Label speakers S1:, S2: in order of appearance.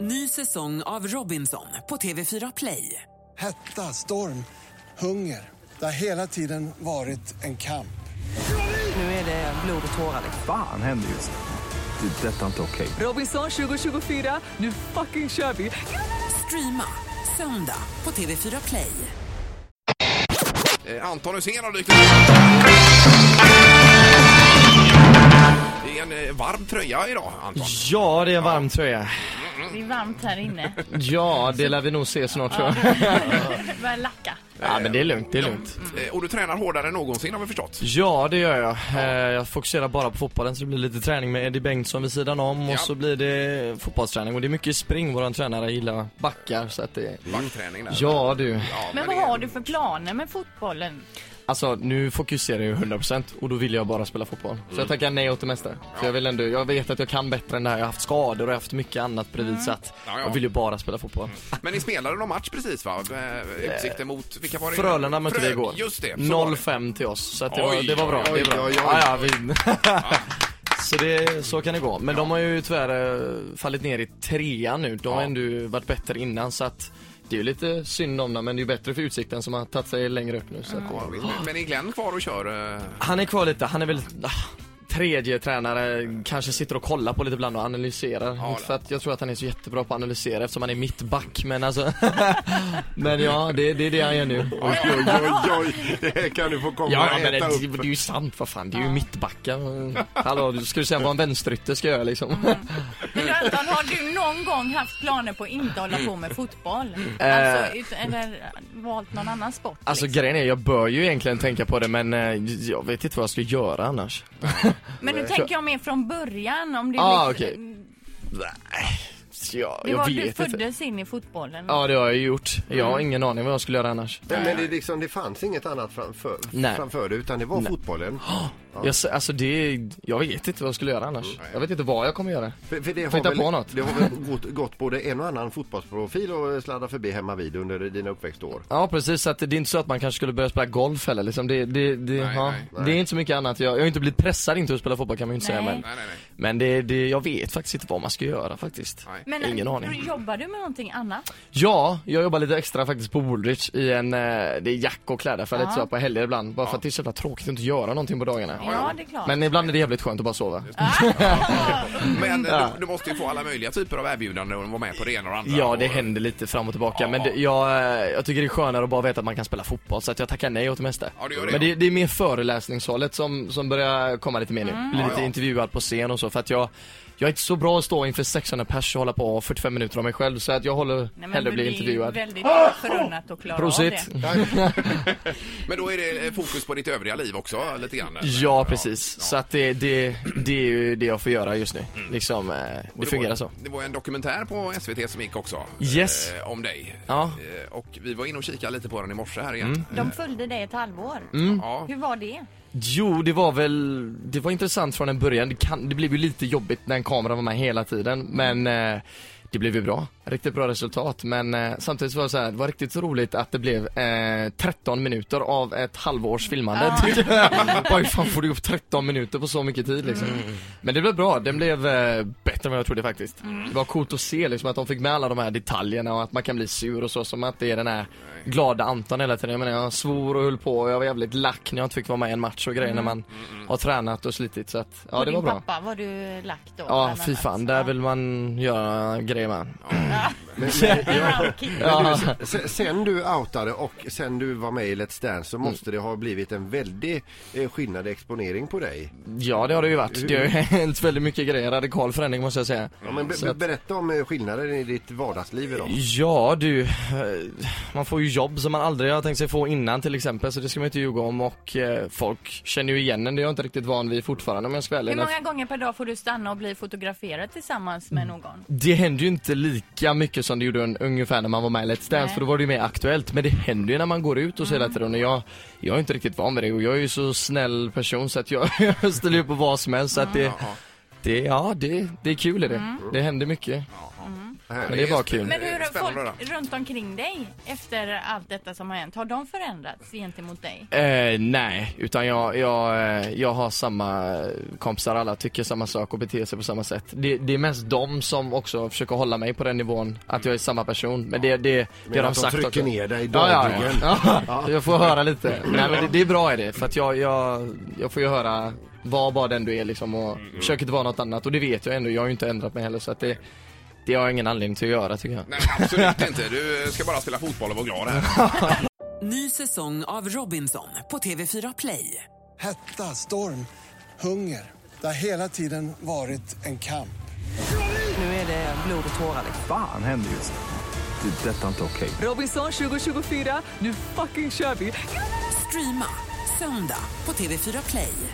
S1: Ny säsong av Robinson på TV4 Play.
S2: Hetta, storm, hunger. Det har hela tiden varit en kamp.
S1: Nu är det blod och tårar.
S3: Fan händer just nu. Det. är Detta är inte okej.
S1: Robinson 2024, nu fucking kör vi! Streama söndag på TV4 Play.
S4: Eh, Anton Hysén har dykt upp. Det är en eh, varm tröja idag, Anton.
S5: Ja, det är en varm tröja.
S6: Det är varmt här inne.
S5: Ja, det lär vi nog se snart tror jag.
S6: Börjar lacka.
S5: Ja, men det är lugnt, det är lugnt.
S4: Eh, Och du tränar hårdare än någonsin har vi förstått.
S5: Ja, det gör jag. Eh, Jag fokuserar bara på fotbollen så det blir lite träning med Eddie Bengtsson vid sidan om
S4: Ja.
S5: och så blir det fotbollsträning och det är mycket spring. Våran tränare gillar backar så att det
S4: Backträning där.
S5: Ja du,
S4: Ja,
S6: Men vad har du för planer med fotbollen?
S5: alltså nu fokuserar jag 100% och då vill jag bara spela fotboll. Så jag tackar nej åt det mesta. För jag vill ändå, jag vet att jag kan bättre än det här. Jag har haft skador och jag har haft mycket annat bredvid så att
S4: Ja, ja.
S5: jag vill ju bara spela fotboll.
S4: Men ni spelade någon match precis va? Eh, Utsikten mot, vilka var det?
S5: Frölunda mötte vi
S4: Frö-
S5: igår.
S4: Just det. så var det.
S5: 0-5 till oss, så att det, var,
S4: Oj,
S5: det var bra.
S4: oj,
S5: det är bra.
S4: oj, oj.
S5: Ja, ja, vi... Så, det, så kan det gå. Men de har ju tyvärr eh, fallit ner i trean nu. De har
S4: Ja.
S5: ändå varit bättre innan så att det är ju lite synd om dem men det är ju bättre för Utsikten som har tagit sig längre upp nu. Så att
S4: Ja,
S5: det...
S4: visst. Men är Glenn kvar och kör? eh,
S5: Han är kvar lite, han är väl ah, tredje tränare, kanske sitter och kollar på lite ibland och analyserar.
S4: Ja,
S5: Inte för att jag tror att han är så jättebra på att analysera eftersom han är mittback men alltså. men ja, det, det är det han gör nu.
S7: Oj, oj, oj, oj. Det här kan du få komma
S5: Ja,
S7: och
S5: men det,
S7: äta
S5: det,
S7: upp.
S5: det är ju sant, vad fan, det är ju mittbackar. Hallå, du- ska du säga vad en vänsterytter ska göra liksom?
S6: Mm, Men du Anton, har du någon gång haft planer på att inte hålla på med fotboll? Alltså, ut, eller valt någon annan sport?
S5: Eh. Alltså
S6: liksom.
S5: grejen är, jag bör ju egentligen tänka på det men eh, jag vet inte vad jag ska göra annars.
S6: Men nu tänker jag mer från början. Om det
S5: Ah,
S6: liksom-
S5: okej. Nej, jag,
S6: Det var
S5: jag
S6: du Mm.
S5: vet inte.
S6: föddes in i fotbollen.
S5: Ja, det har jag ju gjort. Jag har ingen aning vad jag skulle göra annars.
S7: Men, men det, är liksom, det fanns inget annat framför,
S5: Nej.
S7: framför det, utan det var fotbollen.
S5: Jag, s- alltså det, jag vet inte vad jag skulle göra annars. Jag vet inte vad jag kommer göra.
S7: För, för det
S5: Får hitta på något.
S7: det har väl gått, gått både en och annan fotbollsprofil och sladda förbi hemma vid under dina uppväxtår.
S5: Ja precis, så att det är inte så att man kanske skulle börja spela golf eller liksom. Det, det, det,
S4: Nej,
S5: ja.
S4: nej,
S5: det är inte så mycket annat. Jag, jag har ju inte blivit pressad inte att spela fotboll kan man ju inte säga
S6: Nej.
S5: men.
S4: Nej, nej, nej.
S5: Men det, det, jag vet faktiskt inte vad man ska göra faktiskt.
S4: Nej.
S6: Men eh,
S5: Ingen aning.
S6: jobbar du med någonting annat?
S5: Ja, jag jobbar lite extra faktiskt på Woolrich i en, eh, det är jack och kläder lite så på helger ibland. Bara för att det är så jävla tråkigt att inte göra någonting på dagarna.
S6: Ja, ja. det är klart.
S5: Men ibland är det jävligt skönt att bara sova.
S4: Men eh, du, du måste ju få alla möjliga typer av erbjudanden och vara med på det ena och det andra.
S5: Ja, det
S4: Och-
S5: händer lite fram och tillbaka.
S4: Ja.
S5: Men det, jag, eh, jag tycker det är skönare att bara veta att man kan spela fotboll. Så att jag tackar nej åt det mesta.
S4: Ja, det gör det,
S5: men
S4: ja.
S5: det, det är mer föreläsningshållet som, som börjar komma lite mer nu. Blir lite
S4: Ja, ja.
S5: intervjuad på scen och så. För att jag, jag är inte så bra att stå inför 600 pers och hålla på 45 minuter om mig själv. Så att jag håller
S6: men
S5: hellre
S6: du
S5: bli
S6: är ju
S5: intervjuad. Ah!
S6: väldigt förunnat att klara av
S5: Prosit!
S6: det.
S4: Men då är det eh, fokus på ditt övriga liv också lite grann? eller?
S5: Ja, precis. Så att det, det, det är ju det jag får göra just nu. Liksom, eh, det fungerar
S4: var,
S5: så.
S4: Det var en dokumentär på SVT som gick också.
S5: Yes.
S4: Eh, om dig.
S5: Ja. Mm.
S4: Eh, och vi var inne och kikade lite på den i morse här igen.
S6: De följde dig ett halvår.
S4: Ja.
S6: Hur var det?
S5: Jo, det var väl, det var intressant från en början. Det, kan, det blev ju lite jobbigt när en kamera var med hela tiden, men eh, det blev ju bra. Riktigt bra resultat, men eh, samtidigt var det så här, det var riktigt roligt att det blev eh, 13 minuter av ett halvårs filmande. Bara, hur fan får du upp 13 minuter på så mycket tid liksom?
S6: Mm.
S5: Men det blev bra, den blev eh, bättre än vad jag trodde faktiskt.
S6: Mm.
S5: Det var coolt att se liksom att de fick med alla de här detaljerna och att man kan bli sur och så, som att det är den här glada Anton hela tiden. Jag menar jag svor och höll på och jag var jävligt lack när jag inte fick vara med i en match och
S6: Mm.
S5: grejer när man har tränat och slitit så att, ja
S6: På
S5: det
S6: din
S5: var bra.
S6: pappa var du lagt då?
S5: Ja,
S6: bland
S5: fy
S6: annat.
S5: fan, där
S6: Ja.
S5: vill man göra grejer med.
S6: Browkid.
S5: Ja.
S7: Sen, sen du outade och sen du var med i Let's Dance så
S5: Mm.
S7: måste det ha blivit en väldig eh, skillnad i exponering på dig.
S5: Ja det har det ju varit. Det har ju hänt väldigt mycket grejer, radikal förändring måste jag säga.
S7: Ja, men be,
S5: Så att-
S7: berätta om eh, skillnaden i ditt vardagsliv idag.
S5: Ja du, eh, man får ju jobb som man aldrig har tänkt sig få innan till exempel så det ska man ju inte ljuga om och eh, folk känner ju igen en, det är jag inte riktigt van vid fortfarande om jag ska vara ärlig.
S6: Hur många gånger per dag får du stanna och bli fotograferad tillsammans med någon?
S5: Det händer ju inte lika mycket som det gjorde un- ungefär när man var med i Let's Dance
S6: Nej. Mm.
S5: för då var det ju mer aktuellt men det händer ju när man går ut och så hela tiden och jag, jag är inte riktigt van vid det och jag är ju så snäll person så att jag, jag ställer upp på
S6: Mm.
S5: vad som helst så att det, det, ja det, det är kul är det. Det händer mycket. Men det var kul.
S6: Men hur har
S4: Spännande
S6: folk runt omkring dig efter allt detta som har hänt, har de förändrats gentemot dig?
S5: Eh, nej, utan jag, jag, eh, jag har samma kompisar, alla tycker samma sak och beter sig på samma sätt. Det, det är mest de som också försöker hålla mig på den nivån, att jag är samma person. Men det, det, det har
S7: att
S5: de
S7: de
S5: sagt
S7: trycker
S5: också.
S7: ner dig
S5: ja,
S7: dagligen.
S5: ja, ja. Jag får höra lite. Nej men det, det är bra är det, för att jag, jag, jag får ju höra, var bara den du är liksom och försök inte vara något annat. Och det vet jag ändå, jag har ju inte ändrat mig heller så att det, det har jag ingen anledning till att göra tycker jag.
S4: Nej, absolut inte. Du ska bara spela fotboll och vara glad här.
S1: Ny säsong av Robinson på TV4 Play.
S2: Hetta, storm, hunger. Det har hela tiden varit en kamp.
S1: Nu är det blod och tårar.
S3: Fan händer just det. Det är detta inte okej.
S1: Robinson 2024, nu fucking kör vi! Streama söndag på TV4 Play.